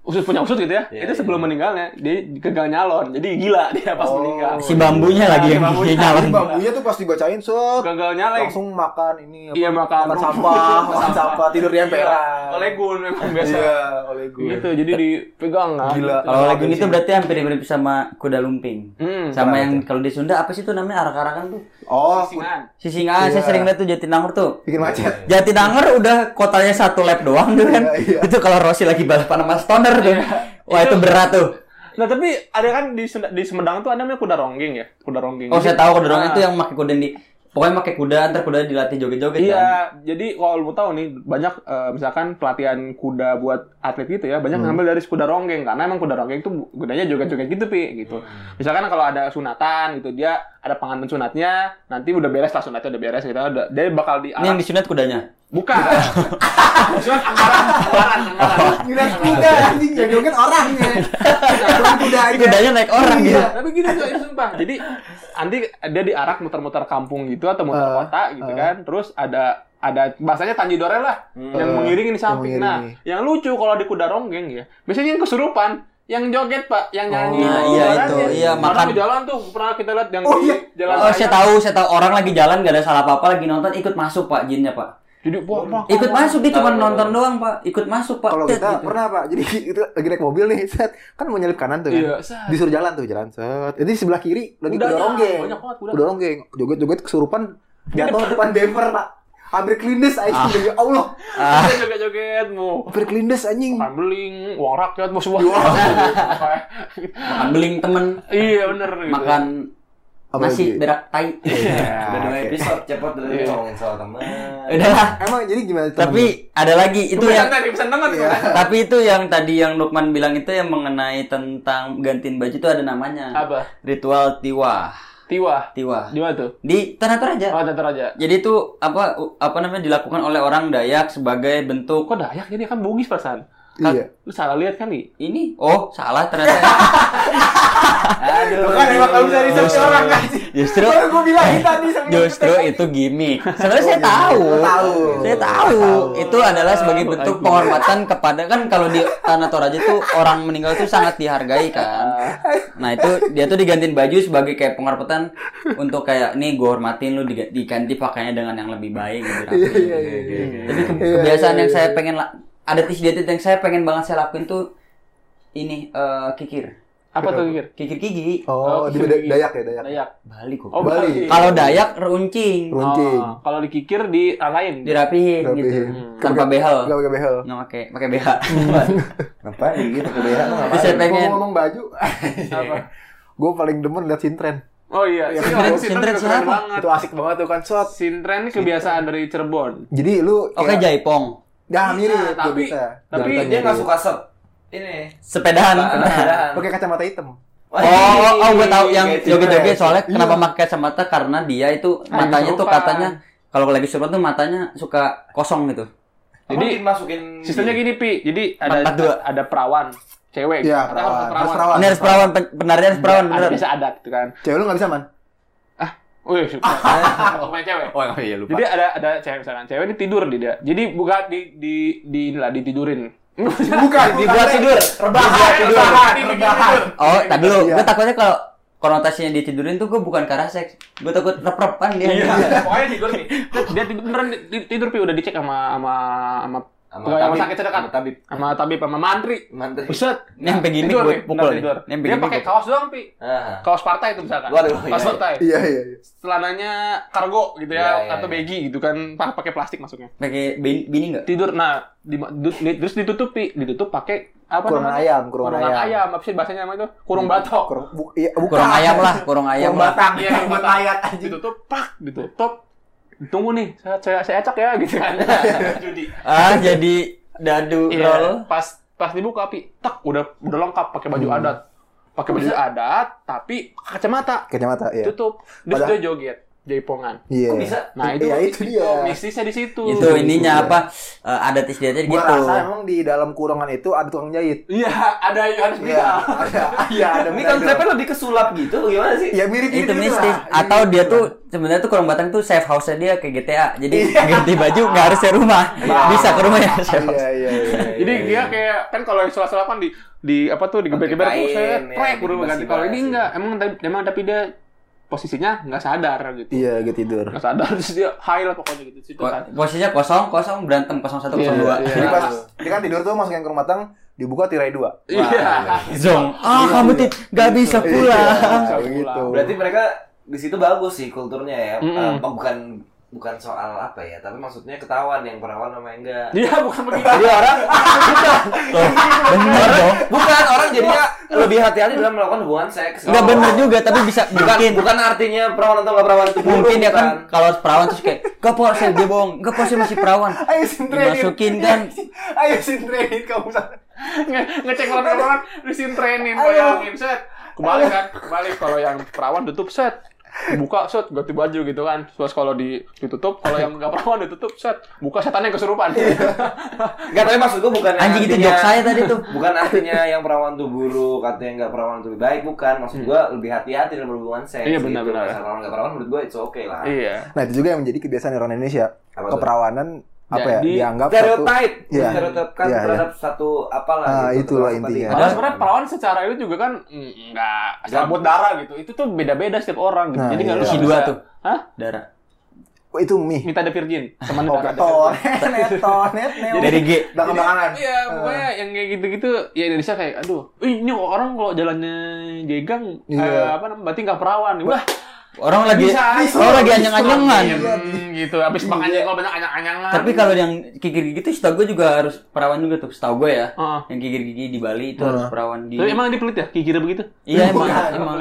A: usus punya usus gitu ya.
D: Iya,
A: itu
D: iya.
A: sebelum meninggalnya dia gagal nyalon. Jadi gila dia pas
D: Oh.
A: meninggal.
B: Iya, Si bambunya
A: Nah,
B: lagi
A: si
B: yang
A: bambunya.
B: nyalon.
C: Jadi bambunya tuh pas dibacain set
A: Gagal nyalon.
C: langsung makan ini apa,
A: Iya, makan. Iya,
C: sampah, makan sampah, tidur di emperan.
A: Oleh gun memang biasa.
C: Iya, oleh gue.
A: Gitu jadi dipegang kan.
C: Gila.
B: Kalau lagu itu berarti hampir mirip sama kuda lumping.
A: Hmm,
B: sama yang kalau di Sunda apa sih tuh namanya arak-arakan tuh?
C: Oh,
A: Sisingan.
B: Sisingan, saya
C: Iya.
B: sering lihat tuh Jatinangor tuh.
C: bikin macet.
B: Jatinangor udah kotanya satu lap doang tuh kan.
C: Iya, iya.
B: Itu kalau Rossi lagi balapan sama Stoner tuh. Wah, itu berat tuh.
A: Nah tapi ada kan di, Senda- di Semedang tuh ada namanya kuda ronggeng ya, kuda ronggeng.
B: Oh, saya tahu kuda dong
A: Ah,
B: itu yang pakai kuda di Pokoknya pakai kuda, ntar kuda dilatih joget-joget
A: Iya,
B: kan.
A: jadi kalau lu tahu nih banyak eh, misalkan pelatihan kuda buat atlet gitu ya, banyak
B: Hmm.
A: ngambil dari kuda ronggeng karena emang kuda ronggeng itu kudanya joget-joget gitu pi gitu.
B: Hmm.
A: Misalkan kalau ada sunatan gitu dia ada pengantin sunatnya, nanti udah beres lah sunatnya udah beres gitu, udah, dia bakal di
B: Ini yang disunat kudanya.
A: bukan. Sunat anggaran, anggaran, anggaran.
C: Gila, kuda anjing ya, kan yang joget orangnya. Joget kuda aja.
B: Kudanya naik orang
C: Iya.
B: gitu.
A: tapi gini tuh sumpah jadi nanti dia diarak muter-muter kampung gitu atau muter
C: Eh,
A: kota gitu kan terus ada ada bahasanya Tanjidore lah yang
C: Eh,
A: mengiringi di
C: yang
A: samping nah
C: mengiringi.
A: yang lucu kalau di kuda ronggeng ya biasanya yang kesurupan yang joget pak yang nyanyi
B: Nah, iya itu.
A: Orangnya.
B: Iya,
A: Orang
B: makan.
A: di jalan tuh pernah kita lihat yang
C: Oh,
A: di
C: iya.
A: jalan
B: Oh, saya
A: raya.
B: tahu, saya tahu orang lagi jalan gak ada salah apa-apa lagi nonton ikut masuk Pak jinnya Pak.
A: jadi wah wah
B: Ikut masuk dia cuma
D: Tahu, tahu.
B: nonton doang Pak. Ikut masuk Pak.
C: Kalau
B: Tet,
C: kita
B: gitu.
C: pernah pak, jadi kita lagi naik mobil nih, set kan mau nyelip kanan tuh kan,
A: Iya, set.
C: disuruh jalan tuh jalan set. Jadi di sebelah kiri lagi
A: Kudanya,
C: kuda ronggeng,
A: banyak banget kuda.
C: kuda ronggeng, joget-joget kesurupan jatuh depan bumper pak, hampir kelindes
A: Ah.
C: anjing, ya Allah,
A: Dia joget-joget mau
C: hampir kelindes anjing.
A: makan beling uang rakyat mau semua
B: makan beling temen,
A: iya bener gitu.
B: makan
C: Apa
B: nasi
C: lagi? Iya,
B: berak tai.
D: Udah
A: Iya.
D: dua episode cepet dari ngomongin soal teman.
B: Udah lah.
C: Emang jadi gimana? temen lu?
B: Tapi ada lagi itu yang
A: pesan tadi pesan banget
B: tapi itu yang tadi yang Lukman bilang itu yang mengenai tentang gantiin baju itu ada namanya.
A: Apa?
B: Ritual tiwa.
A: tiwa
B: Tiwa.
A: Gimana tuh?
B: Di Tanah Toraja.
A: Oh, Tanah Toraja.
B: Jadi itu apa u- apa namanya dilakukan oleh orang Dayak sebagai bentuk
A: Kok Dayak jadi kan Bugis perasaan.
C: Iya.
A: Lu salah lihat kan, kali.
B: ini. Oh, salah ternyata.
D: Aduh.
C: Kan
A: iya,
C: emang kalau bisa research orang kan.
B: Justru
C: Kalau gue bilangin tadi sebelum Oh,
B: Justru itu gimmick. Sebenarnya saya tahu.
C: Tahu.
B: Saya tahu. Itu adalah sebagai bentuk penghormatan kepada kan kalau di Tanah Toraja tuh orang meninggal tuh sangat dihargai kan. Nah, itu dia tuh digantiin baju sebagai kayak penghormatan untuk kayak nih gue hormatin lu diga- diganti pakainya dengan yang lebih baik gitu.
C: Iya iya iya. iya.
B: Tapi ke- kebiasaan yang saya pengen la- ada tis diet yang saya pengen banget saya lakuin tuh ini eh, kikir.
A: Apa tuh pikir?
B: Kikir gigi.
C: Oh,
B: iya,
C: di Beda- Dayak ya Dayak.
A: Dayak.
B: Balik kok.
A: Oh,
C: Bali.
A: Kalau
B: Kalau Dayak runcing,
C: Runcing.
A: kalau dikikir di lain.
B: dirapihin gitu. Tanpa behel.
C: Gak pakai behel.
B: nggak pakai pakai BH
D: Ngapain gitu kuliah tuh
B: Terus saya
D: ngapain?
C: Gue
B: pengen
C: ngomong baju.
A: Apa?
C: gue paling demen lihat sintren.
A: Oh iya,
C: Iya,
A: Sintren,
B: Sintren
A: Sintren
B: siapa?
A: keren banget.
C: Itu asik banget tuh kan shot.
A: Sintren ini kebiasaan dari Cirebon.
C: Jadi lu
B: oke
C: kayak-
B: jaipong
C: Nah, mirip
A: tapi-
C: tuh bisa.
A: tapi
C: Jalan
D: Dia
C: mirip.
D: nggak suka sep. Ini.
B: sepedahan
D: Sepedaan.
C: pakai kacamata hitam.
B: oh
D: Iya,
B: oh gue tahu yang
D: Kayak
B: joget-joget
C: cipres.
B: soalnya
C: Iya.
B: kenapa pakai kacamata karena dia itu matanya
A: kesurupan.
B: tuh katanya kalau lagi sunat tuh matanya suka kosong gitu.
A: Jadi,
D: Jadi masukin
A: Sistemnya gini, Pi. Jadi ada
B: Empat, dua.
A: ada perawan, cewek.
C: Iya,
A: Ada
C: perawan.
A: harus
C: Harus perawan.
B: Ini harus perawan, pen- penarinya harus perawan
A: Ada
B: beneran.
A: bisa ada gitu kan.
C: Cewek lu nggak bisa man?
A: Wih, suka. Aku main cewek.
B: Oh iya lupa.
A: Jadi ada ada cewek misalkan, cewek ini tidur di dia. Jadi buka di di di inilah ditidurin.
C: Bukan,
D: dibuat tidur, rebahan,
A: rebahan,
D: rebahan.
B: Oh, tadi lu,
C: Iya.
B: gue takutnya kalau konotasinya ditidurin tuh gue bukan ke arah seks. Gue takut rep-repan dia.
C: Iya.
A: Iya, Pokoknya tidur nih. Dia tidur beneran di- di- tidur pi udah dicek sama sama sama pegawai rumah sakit sedekat.
D: Sama tabib.
A: Sama tabib sama mantri.
D: Mantri.
A: Buset.
B: Ini yang begini
A: Tidur
B: gue
A: nih,
B: pukul
A: bener
B: nih.
A: tidur.
B: Ini yang
A: Dia
B: begini
A: pakai
B: gue
A: kaos doang pi.
D: Ah.
A: Kaos partai itu misalkan.
D: Waduh,
A: kaos
D: iya,
A: partai.
C: Iya iya. iya.
A: Celananya kargo gitu
D: Iya,
A: ya,
D: iya,
A: atau
D: iya.
A: baggy gitu kan, pa- pakai plastik masuknya.
B: pakai bini, bini nggak?
A: Tidur nah di, du- di- terus ditutup pi, ditutup pakai apa
C: Kurung
A: namanya?
C: ayam, kurung ayam.
A: apa sih bahasanya namanya itu? Kurung batok.
C: Kurung, bu- iya, bukan.
B: Kurang ayam lah, kurang ayam lah.
D: batang,
A: Iya,
D: yang
A: batang.
D: ayat aja.
A: Ditutup, pak, ditutup. Tunggu nih, saya saya, saya acak ya gitu kan. Judi.
B: Ah, jadi dadu
A: Iya,
B: roll.
A: pas pas dibuka api, tak udah udah lengkap pakai baju
C: Hmm.
A: adat. Pakai baju adat tapi kacamata
C: Kacamata, iya.
A: tutup. Terus
C: Padahal-
A: dia joget, jaipongan.
C: Iya.
D: Kok bisa?
A: Nah, itu
C: Iya,
A: di
C: itu
A: situ,
C: dia.
A: mistisnya di situ.
B: Itu ininya apa? eh, adat istiadatnya
C: Iya. Gua
B: gitu.
C: rasa emang di dalam kurungan itu ada tukang jahit.
A: Iya, ada Yohanes
C: Iya,
A: Bidal.
C: ada. Iya, ada.
D: Ini
C: benar.
D: konsepnya lebih kesulap gitu, gimana sih?
A: Iya.
C: ya mirip
B: itu mistis
C: Iya,
B: atau
C: gitu
B: dia tuh sebenarnya tuh kurang batang tuh safe house-nya dia kayak GTA jadi ganti baju nggak harus ke rumah bisa ke rumah ya safe house
C: Iya, iya, iya.
A: Jadi dia kayak kan kalau yang salah kan di di apa tuh digeber-geber tuh
D: Pakai
C: iya,
A: saya
D: kain, ya,
A: trek udah ganti kalau ini
D: dibasi-basi.
A: enggak emang tapi- emang tapi dia posisinya nggak sadar gitu.
C: Iya, gitu tidur.
A: Nggak sadar terus dia high lah pokoknya gitu situ
B: Ko-
C: Iya.
A: kan.
B: posisinya kosong kosong berantem kosong satu kosong dua
A: Iya.
C: Jadi pas dia kan tidur tuh masukin kurung matang, dibuka tirai dua.
A: Iya.
B: zong ah kamu tit nggak bisa pulang
A: Bisa
C: Iya,
A: pulang.
C: gitu.
D: Berarti mereka di situ bagus sih kulturnya ya.
A: Mm-mm.
D: Eh, bukan bukan soal apa ya, tapi maksudnya ketahuan yang perawan sama yang enggak.
A: Iya bukan begitu.
B: Tuh, bener dong
D: Bukan orang jadinya Ya, lebih hati-hati dalam melakukan hubungan seks.
B: nggak bener juga tapi bisa
D: Bukan,
B: mungkin
D: bukan artinya perawan atau nggak perawan itu buruk,
B: mungkin ya
D: bukan.
B: kan kalau perawan terus kayak gak puas saya dia bohong gak puas saya masih perawan
C: Ayo sintrenin.
B: dimasukin kan
C: Ayo sintrenin kamu sana.
A: Nge- ngecek orang-orang disin trainin bayangin set kembali kan kembali kalau yang perawan tutup set buka set ganti baju gitu kan terus kalau di ditutup kalau yang nggak perawan ditutup set buka setannya kesurupan
C: Iya.
D: Enggak, tapi maksud gua bukan
B: anjing itu jok saya tadi tuh
D: Bukan artinya yang perawan itu buruk, artinya yang nggak perawan itu lebih baik, bukan. Maksud gua lebih hati-hati dalam berhubungan seks.
A: Hmm. Iya, benar-benar.
D: Gitu. Asal perawan nggak perawan, menurut gua itu oke lah.
A: iya
C: Nah, itu juga yang menjadi kebiasaan orang Indonesia.
D: Apa tuh?
C: Keperawanan apa ya?
A: Jadi,
C: Dianggap satu
D: Stereotype,
C: Iya.
D: stereotipkan
C: Iya, iya.
D: terhadap satu apalah.
C: Ah,
D: gitu,
C: itulah
D: terhadap
C: intinya.
A: Padahal
D: tadi.
A: sebenarnya perawan secara itu juga kan mm, nggak serabut darah gitu. Itu tuh beda-beda setiap orang gitu.
C: Nah,
A: Jadi nggak
C: iya.
A: lu
B: si
A: nggak
B: dua
A: bisa-
B: tuh
A: Hah?
B: darah
C: Oh, itu mie.
A: Minta ada virgin. Teman
C: Oh,
A: darah ada virgin.
C: tonet, tonet,
B: dari G
C: Belakang-belakangan.
A: Iya, pokoknya
C: Ah.
A: yang kayak gitu-gitu ya Indonesia kayak aduh, ih, ini orang kalau jalannya jegang eh,
C: Iya.
A: apa namanya? Berarti nggak perawan. Wah,
B: orang lagi
C: bisa,
B: orang lagi
C: bisa.
B: anyang-anyangan
C: Iya.
A: Hmm, gitu. Habis makan anjing kalau banyak anyang-anyangan.
B: Tapi kalau yang gigir-gigi itu setahu gue juga harus perawan juga tuh, setahu gue ya.
A: Heeh.
B: Yang gigir-gigi di Bali itu
C: Nah.
B: harus perawan di.
A: Tapi emang dia pelit ya? Kikir begitu?
B: Iya emang, emang.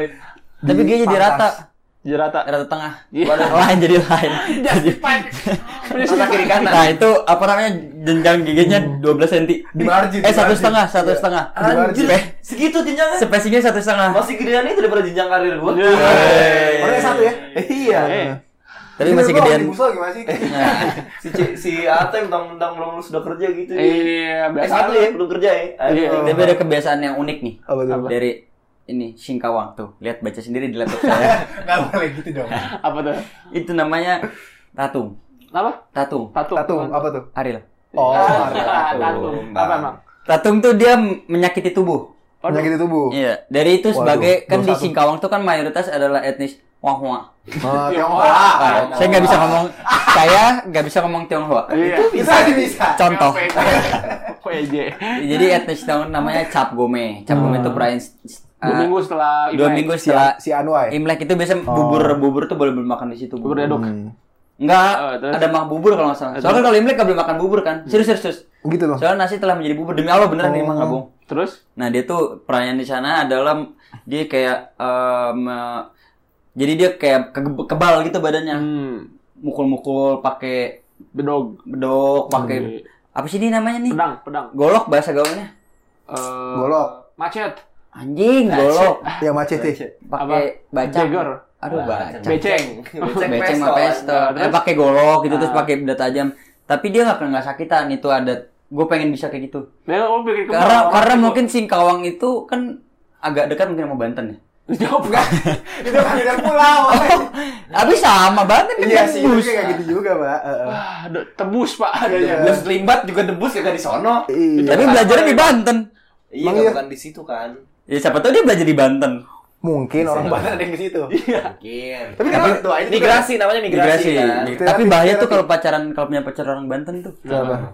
B: Tapi dia jadi rata,
A: Jerata.
B: rata tengah.
A: Iya.
B: Waduh, lain jadi lain. Jadi
A: Jerata kiri kanan.
B: Nah itu apa namanya jenjang giginya 12 cm
C: Hmm. Di margin,
B: Eh
C: di
B: satu
C: margin. Iya.
B: setengah, satu setengah.
D: Anjir,
B: Spe-
D: segitu jenjangnya.
B: Spesiesnya satu setengah.
D: Masih gedean itu daripada jenjang karir gua.
A: Iya.
C: Orangnya satu ya?
D: Iya.
A: Eh,
B: Tapi masih gedean. Nah,
C: Di busel gimana sih?
D: Si C- si Atem mentang-mentang belum lulus udah kerja gitu.
A: Iya,
D: Eh,
A: biasa
D: satu ya, belum kerja ya.
A: Iya.
D: Aduh.
B: Tapi ada kebiasaan yang unik nih.
C: Apa tuh?
B: Dari ini Singkawang tuh. Lihat baca sendiri di laptop saya.
C: Nggak boleh gitu dong.
A: Apa tuh?
B: itu namanya tatung.
A: Apa?
B: Tatung.
A: Tatung.
C: Tatung, apa tuh?
B: Ariel.
C: Oh,
A: Ah, Tatung. Apa emang?
B: Tatung tuh dia menyakiti tubuh.
C: penyakit tubuh.
B: Iya. Dari itu
C: Waduh,
B: sebagai kan di
C: dosa tuh.
B: Singkawang tuh kan mayoritas adalah etnis Tionghoa.
C: Oh,
A: Iya.
B: Ah, saya nggak bisa ngomong saya nggak bisa ngomong Tionghoa.
A: Iya.
C: Bisa sih bisa.
B: Contoh.
A: PJ.
B: Jadi etnis Tionghoa namanya Cap Gome. Cap Gome itu perayaan eh,
A: Hmm. Dua minggu setelah
B: dua
A: Imlek.
B: minggu
C: Si,
B: setelah
C: si Anu Anwai.
B: Imlek itu biasa bubur bubur tuh boleh boleh makan di situ.
A: Bubur dadok.
C: Hmm.
B: Enggak,
A: Oh, terus? Hmm.
B: ada mah bubur kalau nggak salah. Soalnya kalau Imlek nggak boleh makan bubur kan. Serius serius. serius.
C: Gitu loh.
B: Soalnya nasi telah menjadi bubur demi Allah beneran ini
A: Oh.
B: mah nggak bohong.
A: Terus
B: Nah dia tuh perannya di sana adalah dia kayak em, eh, jadi dia kayak ke- kebal gitu badannya,
A: hmm,
B: mukul-mukul pakai
A: bedog.
B: bedok, pakai apa sih ini namanya nih?
A: Pedang, pedang.
B: Golok bahasa gaulnya.
A: Eh,
C: Golok.
A: Macet.
B: Anjing, golok.
C: Nah, Yang macet sih.
B: Pakai
A: Apa?
B: baca.
A: Jagger.
B: aduh baca
A: Beceng.
D: Becek
B: beceng sama
D: pestol.
B: pestol eh pakai golok gitu
C: Nah.
B: terus pakai benda tajam tapi dia nggak kena nggak sakitan itu ada gue pengen bisa kayak gitu
A: Nah, lo bikin kembang.
B: karena karena mungkin Singkawang itu kan agak dekat mungkin sama Banten ya
A: Jawab nggak?
C: Itu kan beda pulau.
B: Abis sama Banten kan
C: Iya sih, itu
B: tembus.
C: kayak gitu juga, Pak. Heeh.
A: Ah, iya, aduh, tebus pak.
D: Lu selimbat juga debus kagak di sono.
C: Iya.
B: tapi belajarnya di Banten
D: Iya,
C: iya.
D: bukan di situ kan.
B: ya siapa tahu dia belajar di Banten
C: Mungkin orang banyak ada yang ke situ.
D: Mungkin.
C: Tapi kenapa doain itu
D: migrasi namanya migrasi,
B: migrasi
D: kan.
B: Mig- tapi bahaya tuh kalau pacaran kalau punya pacar orang Banten tuh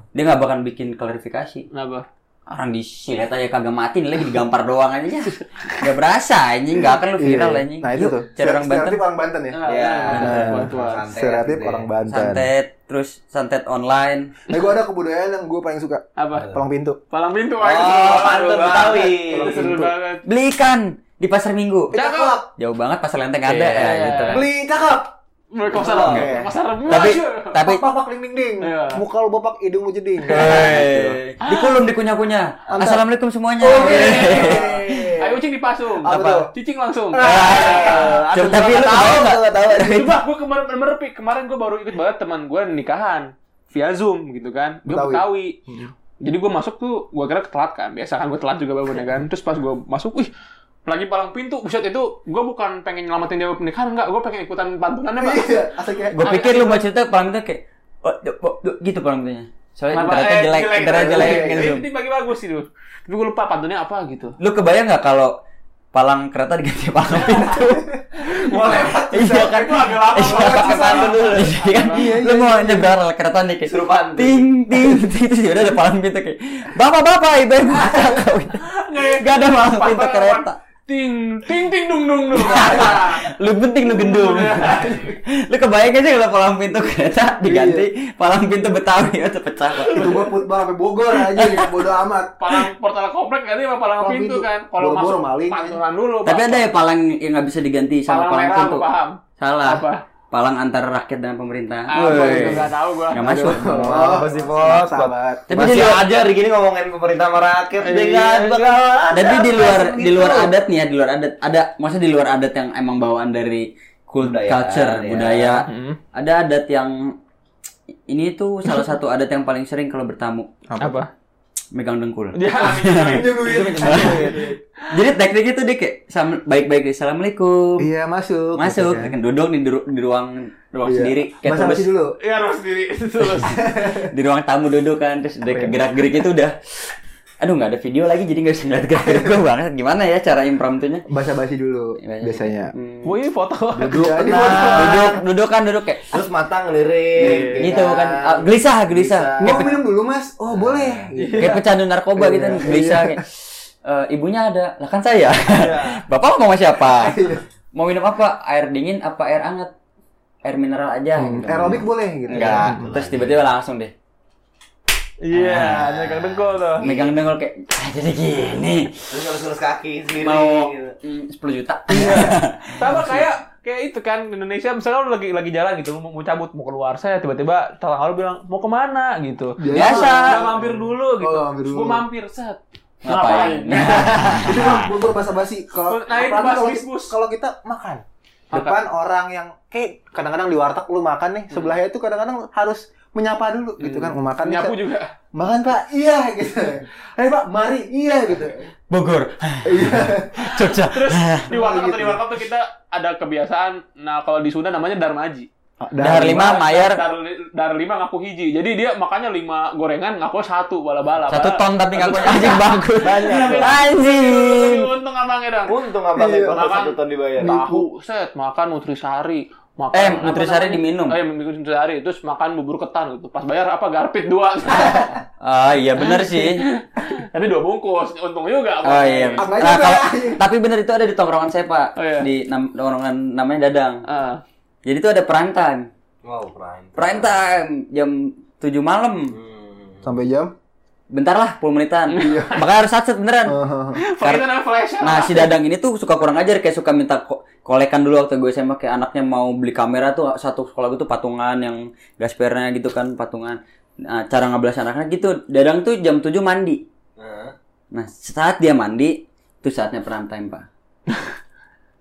B: dia nggak bakal bikin klarifikasi
A: Kenapa?
B: orang disilet aja kagak mati nih lagi digampar doang aja ya nggak berasa anjing nggak akan lu viral
C: Iya.
B: anjing
C: Nah, itu
B: Yuk,
C: tuh.
B: cari orang Banten
C: Stereotip orang Banten ya.
D: Iya.
C: Nah,
A: Bantuan.
C: Stereotip
D: Santet,
C: orang Banten.
B: santet terus santet online
C: Nah, gue ada kebudayaan yang gue paling suka.
A: Apa?
C: Palang pintu.
A: Palang pintu.
D: Oh, pantun Betawi.
A: Seru banget.
B: beli ikan di pasar minggu
A: Cakep.
B: jauh banget pasar lenteng ada ya gitu kan.
C: Beli cakep.
A: Beli kosan.
C: Oke.
A: Kosan remuk.
B: tapi tapi
C: Bapak pak ding ding ding.
A: Iya.
C: Muka lu bapak hidung lu jeding.
B: Hei, dikulum dikunyah-kunyah. Assalamualaikum semuanya.
C: Oh, iya.
B: Iya.
A: Ayo ucing dipasung.
C: Apa
A: Cicing langsung.
B: Ah. Coba tapi lu
C: Tahu
B: kebayang nggak?
C: nggak tahu.
A: Coba gue kemarin merepik. Kemarin gue baru ikut banget teman gue nikahan via Zoom gitu kan. Dia
C: Betawi.
A: Betawi. Jadi gue masuk tuh, gue kira telat kan. Biasa kan gue telat juga bangunnya kan. Terus pas gue masuk, wih lagi palang pintu, buset itu gue bukan pengen nyelamatin dia pernikahan, enggak, gue pengen ikutan pantunannya pak.
C: Iya, asal kayak
B: Gue Eh, pikir lu mau cerita palang itu kayak oh, do- bo- do- gitu palang pintunya. Soalnya
A: Kenapa?
B: internetnya
A: Eh,
B: jelek, internetnya jelek.
A: Iya,
B: gitu.
A: iya, Ini bagi bagus itu. Tapi gue lupa pantunnya apa gitu.
B: Lu kebayang nggak kalau palang kereta diganti palang pintu?
A: Gue lewat.
B: Iya kan?
A: Itu agak lama.
B: Iya pakai palang dulu. Iya kan? Lu mau nyebrang rel kereta nih kayak
D: Serupan tuh.
B: ting ting ting terus udah ada palang pintu kayak bapak-bapak ibu ibu
A: ya?
B: Gak ada palang pintu kereta.
A: Ting ting ting dung dung dung.
B: lu penting lu gendung
A: Iya.
B: lu kebayang gak sih kalau palang pintu kereta diganti
A: Iya.
B: palang pintu betawi atau pecah kok
C: itu gue put banget sampai Bogor aja gitu bodo amat.
A: Palang portal komplek ganti sama palang
C: Palang
A: pintu
C: pintu.
A: kan. Kalau
C: Boro-boro
A: masuk
C: maling.
A: pantulan dulu.
B: tapi
A: Pak.
B: ada ya palang yang nggak bisa diganti
A: palang
B: sama palang,
A: merah,
B: pintu
A: gua paham.
B: salah
A: Apa?
B: palang antara rakyat dan pemerintah
A: Ah, gua
B: Woi.
A: juga nggak tahu gua.
B: nggak masuk
D: Oh, pasti bos.
C: Sahabat.
B: tapi di
D: Masih
B: luar
D: aja hari gini ngomongin pemerintah sama rakyat
B: Iya,
D: dengan
B: tapi di luar di luar adat nih ya di luar adat ada maksudnya di luar adat yang emang bawaan dari kult
D: Budaya,
B: culture
D: ya.
B: budaya ada adat yang ini tuh salah satu adat yang paling sering kalau bertamu
A: Apa?
B: megang dengkul
A: Dia iya.
B: Jadi tekniknya tuh dia kayak sam- baik-baik deh, assalamualaikum.
C: Iya masuk. Iya.
B: Masuk, kan duduk di, ru- di ruang ruang sendiri, kayak Iya.
C: Masa
B: tulus
C: masih Iya. dulu.
A: ya harus diri terus.
B: di ruang tamu duduk kan, terus dia
C: ya?
B: kayak gerak-gerik itu udah. Aduh nggak ada video lagi jadi nggak bisa ngeliat gerak-gerik gue banget. Gimana ya cara impromptunya?
C: Basa-basi dulu
B: Iya, Basa-basi. Hmm.
C: biasanya.
A: Gua ini foto.
C: Duduk
B: Duduk, duduk kan duduk kayak
D: terus matang lirik
B: gitu
C: Iya.
B: kan, Ah, gelisah, gelisah,
C: Mau minum dulu mas? Oh boleh.
B: kayak pecandu narkoba gitu,
C: Iya.
B: gelisah kayak. "Eh, ibunya ada, lah kan saya.
C: Iya.
B: Bapak mau sama siapa? Mau minum apa? Air dingin apa air hangat? Air mineral aja. gitu.
C: Aerobik boleh gitu.
B: Enggak. Terus tiba-tiba langsung deh
A: Iya, megang dengkul tuh.
B: megang dengkul kayak "Ah, jadi gini.
D: terus ngelus-ngelus kaki sendiri
B: Mau
D: gitu.
B: mm, 10 juta.
A: Sama kayak kayak itu kan di Indonesia misalnya lu lagi lagi jalan gitu mau, mau cabut mau keluar saya tiba-tiba telang lu bilang mau kemana gitu
B: Biasa.
A: Udah mampir dulu gitu
C: Oh, mampir dulu.
A: Gua mampir set
B: Ngapain?
C: Itu mah bubur basa-basi. Kalau
A: Nah, itu
C: apalagi
A: bahas
C: kalau
A: bisbus.
C: kita- kalau kita makan
A: Makan.
C: depan orang yang kayak kadang-kadang di warteg lu makan nih
B: Hmm.
C: sebelahnya itu kadang-kadang harus menyapa dulu gitu kan mau makan nih,
A: nyapu
C: Kak.
A: juga
C: makan pak iya gitu eh pak mari iya gitu
B: Bogor. Jogja.
A: terus di warkop atau di warkop tuh kita ada kebiasaan nah kalau di Sunda namanya darmaji
B: Dahar lima mayar
A: dar, dar lima ngaku hiji jadi dia makannya lima gorengan ngaku satu bala bala
B: satu ton tapi ngaku anjing bagus. Anjing.
A: untung abangnya dong
D: untung abang
C: Iya.
D: abang
A: Makan.
D: satu ton dibayar
A: tahu set makan nutrisari makan
B: Eh,
A: apa
B: Nutrisari
A: namanya?
B: diminum.
A: eh nutrisari terus makan bubur ketan gitu pas bayar apa garpit dua
B: Ah iya bener sih.
A: tapi dua bungkus untung juga
B: Oh iya.
C: Apa
B: Nah,
C: aja,
B: kalau-
C: Pak?
B: tapi bener itu ada di tongkrongan saya, Pak.
A: Oh, iya.
B: Di nam- tongkrongan namanya Dadang.
A: Ah.
B: Jadi itu ada prime time.
D: wow prime
B: Prime time jam 7 malam.
C: sampai jam
B: Bentar lah 10 menitan. Makanya harus satset beneran.
C: Oh.
A: Pakai itu namanya flash.
B: Nah si Dadang ini tuh suka kurang ajar kayak suka minta ko- kolekan dulu waktu gue SMA kayak anaknya mau beli kamera tuh satu sekolah gue tuh patungan yang gaspernya gitu kan patungan. Nah, cara ngebelas anaknya gitu. Dadang tuh jam 7 mandi. Nah saat dia mandi tuh saatnya prime time pak.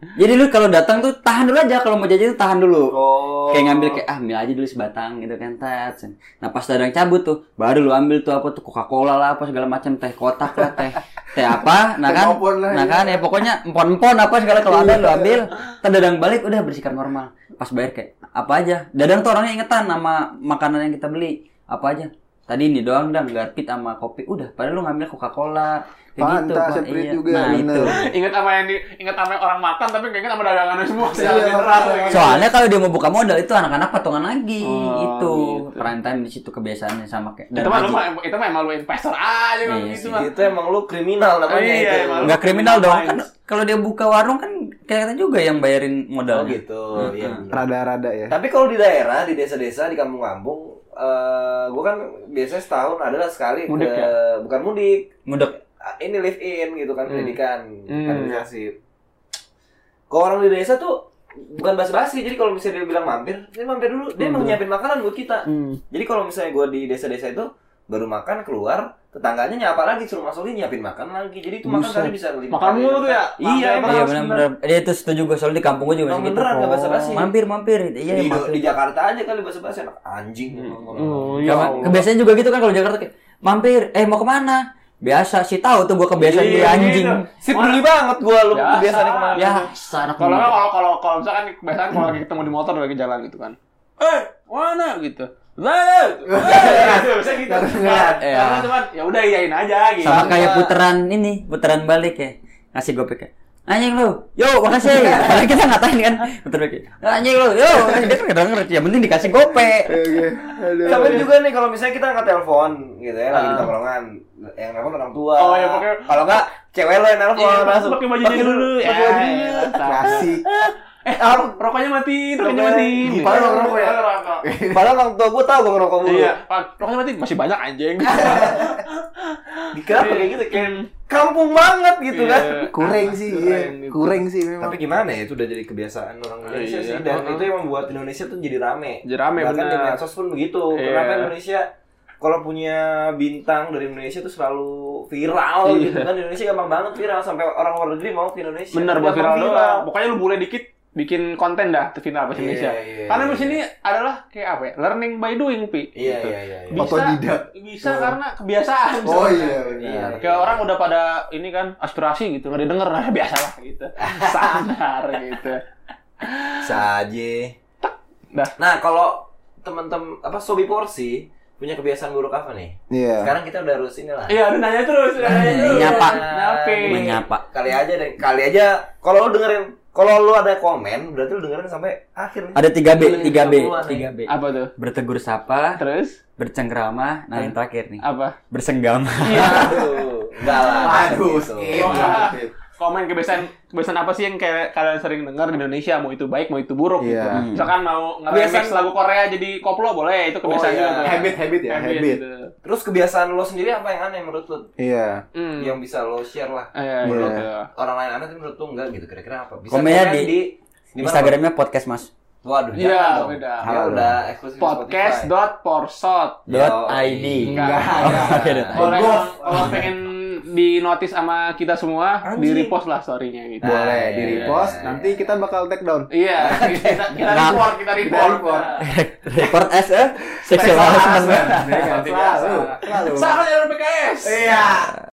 B: Jadi lu kalau datang tuh tahan dulu aja kalau mau jajan tuh tahan dulu.
D: Oh.
B: Kayak ngambil kayak ah ambil aja dulu sebatang gitu kan tet. Nah pas dadang cabut tuh baru lu ambil tuh apa tuh Coca-Cola lah apa segala macam teh kotak lah teh teh apa nah kan
C: Empon lah,
B: nah
C: iya.
B: kan ya pokoknya empon-empon apa segala kalau ada lu ambil ntar dadang balik udah bersikap normal pas bayar kayak apa aja dadang tuh orangnya ingetan sama makanan yang kita beli apa aja tadi ini doang dang garpit sama kopi udah padahal lu ngambil Coca-Cola kayak
C: Fanta,
B: Pak.
C: Sprite
B: Iya.
C: juga,
B: nah
C: bener.
B: itu
A: Ingat sama yang di, ingat sama yang orang makan tapi nggak ingat sama dagangan semua secara
C: Iya,
A: general.
C: makanya.
A: gitu.
B: Soalnya kalau dia mau buka modal itu anak-anak patungan lagi
A: Oh,
B: itu
A: gitu.
B: prime time di situ kebiasaannya sama kayak
A: Itu
B: dan
A: mah lu
B: haji.
A: mah itu mah emang lu investor aja kalau
B: Iya
A: gitu
B: sih,
A: mah.
D: Itu emang lu kriminal namanya
A: Iya,
D: itu.
A: emang.
B: nggak kriminal dong kan kalau dia buka warung kan kelihatan juga yang bayarin
D: Oh
B: modalnya.
D: gitu. Iya. bener.
C: Rada-rada ya.
D: Tapi kalau di daerah, di desa-desa, di kampung-kampung, eh gue kan biasanya setahun adalah sekali
A: Mudik
D: ke
A: ya?
D: bukan mudik,
B: Mudek.
D: Ah, ini live in gitu kan
A: Hmm.
D: pendidikan
A: Hmm.
D: kaderisasi kalau orang di desa tuh bukan basa-basi jadi kalau misalnya dia bilang mampir dia mampir dulu
A: Hmm.
D: dia emang nyiapin makanan buat kita
B: Hmm.
D: jadi kalau misalnya gue di desa-desa itu baru makan keluar tetangganya nyapa lagi suruh masukin nyiapin makan lagi jadi itu makan
A: Buset.
D: tadi bisa lima
A: Makan
D: kali.
A: mulu tuh ya?
D: iya
A: Mampir
D: emang
B: Iya
A: harus
B: benar-benar. Dia itu setuju gue soalnya di kampung gue juga
D: emang
B: masih gitu.
D: beneran nggak basa-basi
B: Mampir mampir. Iya
D: di,
B: mampir.
D: di Jakarta aja kali basa-basi anak anjing
A: Oh, iya.
B: Gak- Kebiasaannya juga gitu kan kalau Jakarta kayak mampir. Eh mau kemana? Biasa sih tahu tuh gue kebiasaan
A: Iya,
B: dia anjing.
A: gitu.
D: sip peduli banget gue lu
A: Biasa.
D: kebiasaannya kemana
B: Ya, sarak
A: Kalau nggak,
B: banget.
A: kalau kalau kalau misalkan kebiasaan kalau lagi ketemu di motor lagi jalan gitu kan. Eh, mana gitu. Lah, bisa gitu.
B: Iya.
A: Karena cuman ya udah iyain aja gitu.
B: sama kayak puteran ini puteran balik ya ngasih gopek ya anjing lu yo makasih padahal kita ngatain kan puter balik ya, anjing lu yo dia kan nggak denger yang penting dikasih gopek
C: Oke.
A: Iya,
C: Aduh.
D: Sama juga nih kalau misalnya kita angkat telepon gitu ya lagi di tongkrongan yang nelfon orang tua.
A: Ah. Oh, ya, pokoknya-
D: kalau enggak cewek lo yang nelfon
A: Iya,
D: langsung
A: pakai baju dia dulu.
D: Pakai
A: Ya,
D: baju dia dulu.
C: Iya, Klasik.
A: Eh, ro- rokoknya matiin, rokoknya
D: Rokoknya-
A: matiin. Iya,
D: Ih, parah orang rokok ya.
A: Parah rokok.
D: Padahal orang tua gue tahu gue ngerokok mulu.
A: Iya, Pak, rokoknya matiin masih banyak anjing.
D: Dikerap kayak
A: Iya.
D: gitu
A: Kan.
D: kayak kampung banget gitu kan.
C: Kurang sih,
A: gitu.
C: iya. Kurang sih memang.
D: Tapi gimana ya itu udah jadi kebiasaan orang Indonesia
A: Iya.
D: sih dan
A: Uh-uh.
D: itu yang membuat Indonesia tuh jadi rame.
A: Jadi rame,
D: Bahkan di
A: benar.
D: medsos pun begitu.
A: Iya.
D: Kenapa Indonesia kalau punya bintang dari Indonesia tuh selalu viral gitu
A: Iya.
D: kan Di Indonesia gampang banget viral sampai orang luar negeri mau ke Indonesia.
A: Bener buat
D: Gampang
A: Iya, viral doang. Pokoknya lu boleh dikit bikin konten dah ke viral bahasa
D: Iya,
A: Indonesia.
D: iya,
A: Karena
D: iya.
A: di sini adalah kayak apa? ya, Learning by doing, Pi.
D: Iya
A: Gitu.
D: iya iya. iya.
A: Bisa,
C: Otodidak.
A: bisa karena kebiasaan.
C: Oh
A: misalnya.
C: iya
D: Iya.
C: benar.
A: Kayak orang udah pada ini kan aspirasi gitu, nggak didengar, ah, biasa lah gitu. Sadar gitu.
D: Saja.
A: Dah.
D: Nah kalau teman-teman apa sobi porsi punya kebiasaan buruk apa nih?
C: Iya.
D: Sekarang kita udah harus inilah. Iya.
A: Iya, udah nanya terus. udah nanya
D: Hmm,
B: Iya,
A: terus.
B: nyapa.
A: Nyapa.
B: Cuma nyapa
D: Kali aja deh, kali aja. Kalau lu dengerin, kalau lu ada komen, berarti lu dengerin sampai akhir. nih.
B: ada 3 b
D: Iya,
B: 3 b
D: Keluar nih.
B: 3 b
A: Apa tuh?
B: bertegur sapa
A: Terus
B: bercengkrama nah yang terakhir nih
A: apa?
B: bersenggama
D: Aduh, enggak lah.
C: Aduh,
D: gitu.
C: skip.
A: Ah, komen kebiasaan kebiasaan apa sih yang kayak kalian sering dengar di Indonesia mau itu baik mau itu buruk gitu.
C: Iya.
A: Misalkan mau nge-remix
D: Kebiasaan-
A: lagu Korea jadi koplo boleh itu kebiasaan
D: Oh, iya.
A: juga tuh.
C: Habit habit ya, habit.
A: gitu.
D: Terus kebiasaan lo sendiri apa yang aneh menurut lo?
C: Iya.
A: Hmm.
D: Yang bisa lo share lah.
A: Iya,
C: Iya.
A: gitu.
D: Orang lain aneh tapi menurut lo enggak gitu. Kira-kira apa? Bisa
B: Komennya
D: komen
B: di-
D: di mana,
B: Instagramnya podcast mas
D: Bang? Waduh,
A: Iya,
D: jangan dong.
A: beda.
D: Dia
C: Halo.
D: udah eksklusif di Spotify.
A: podcast.porsot.
D: Yo,
B: dot id
A: Enggak.
B: Oh, oke, dot
A: Kalau
B: id.
A: emang- kalau pengen di notice sama kita semua, di
D: Anjing.
A: repost lah story-nya gitu.
D: Nah.
C: Boleh
D: iya,
C: di
D: iya,
C: repost,
D: iya.
C: nanti kita bakal take down.
A: Iya, kita kita
B: Nah.
A: report, kita report.
C: report.
B: report as a sexual harassment
D: Selalu.
A: Salah dari PKS.
D: Iya.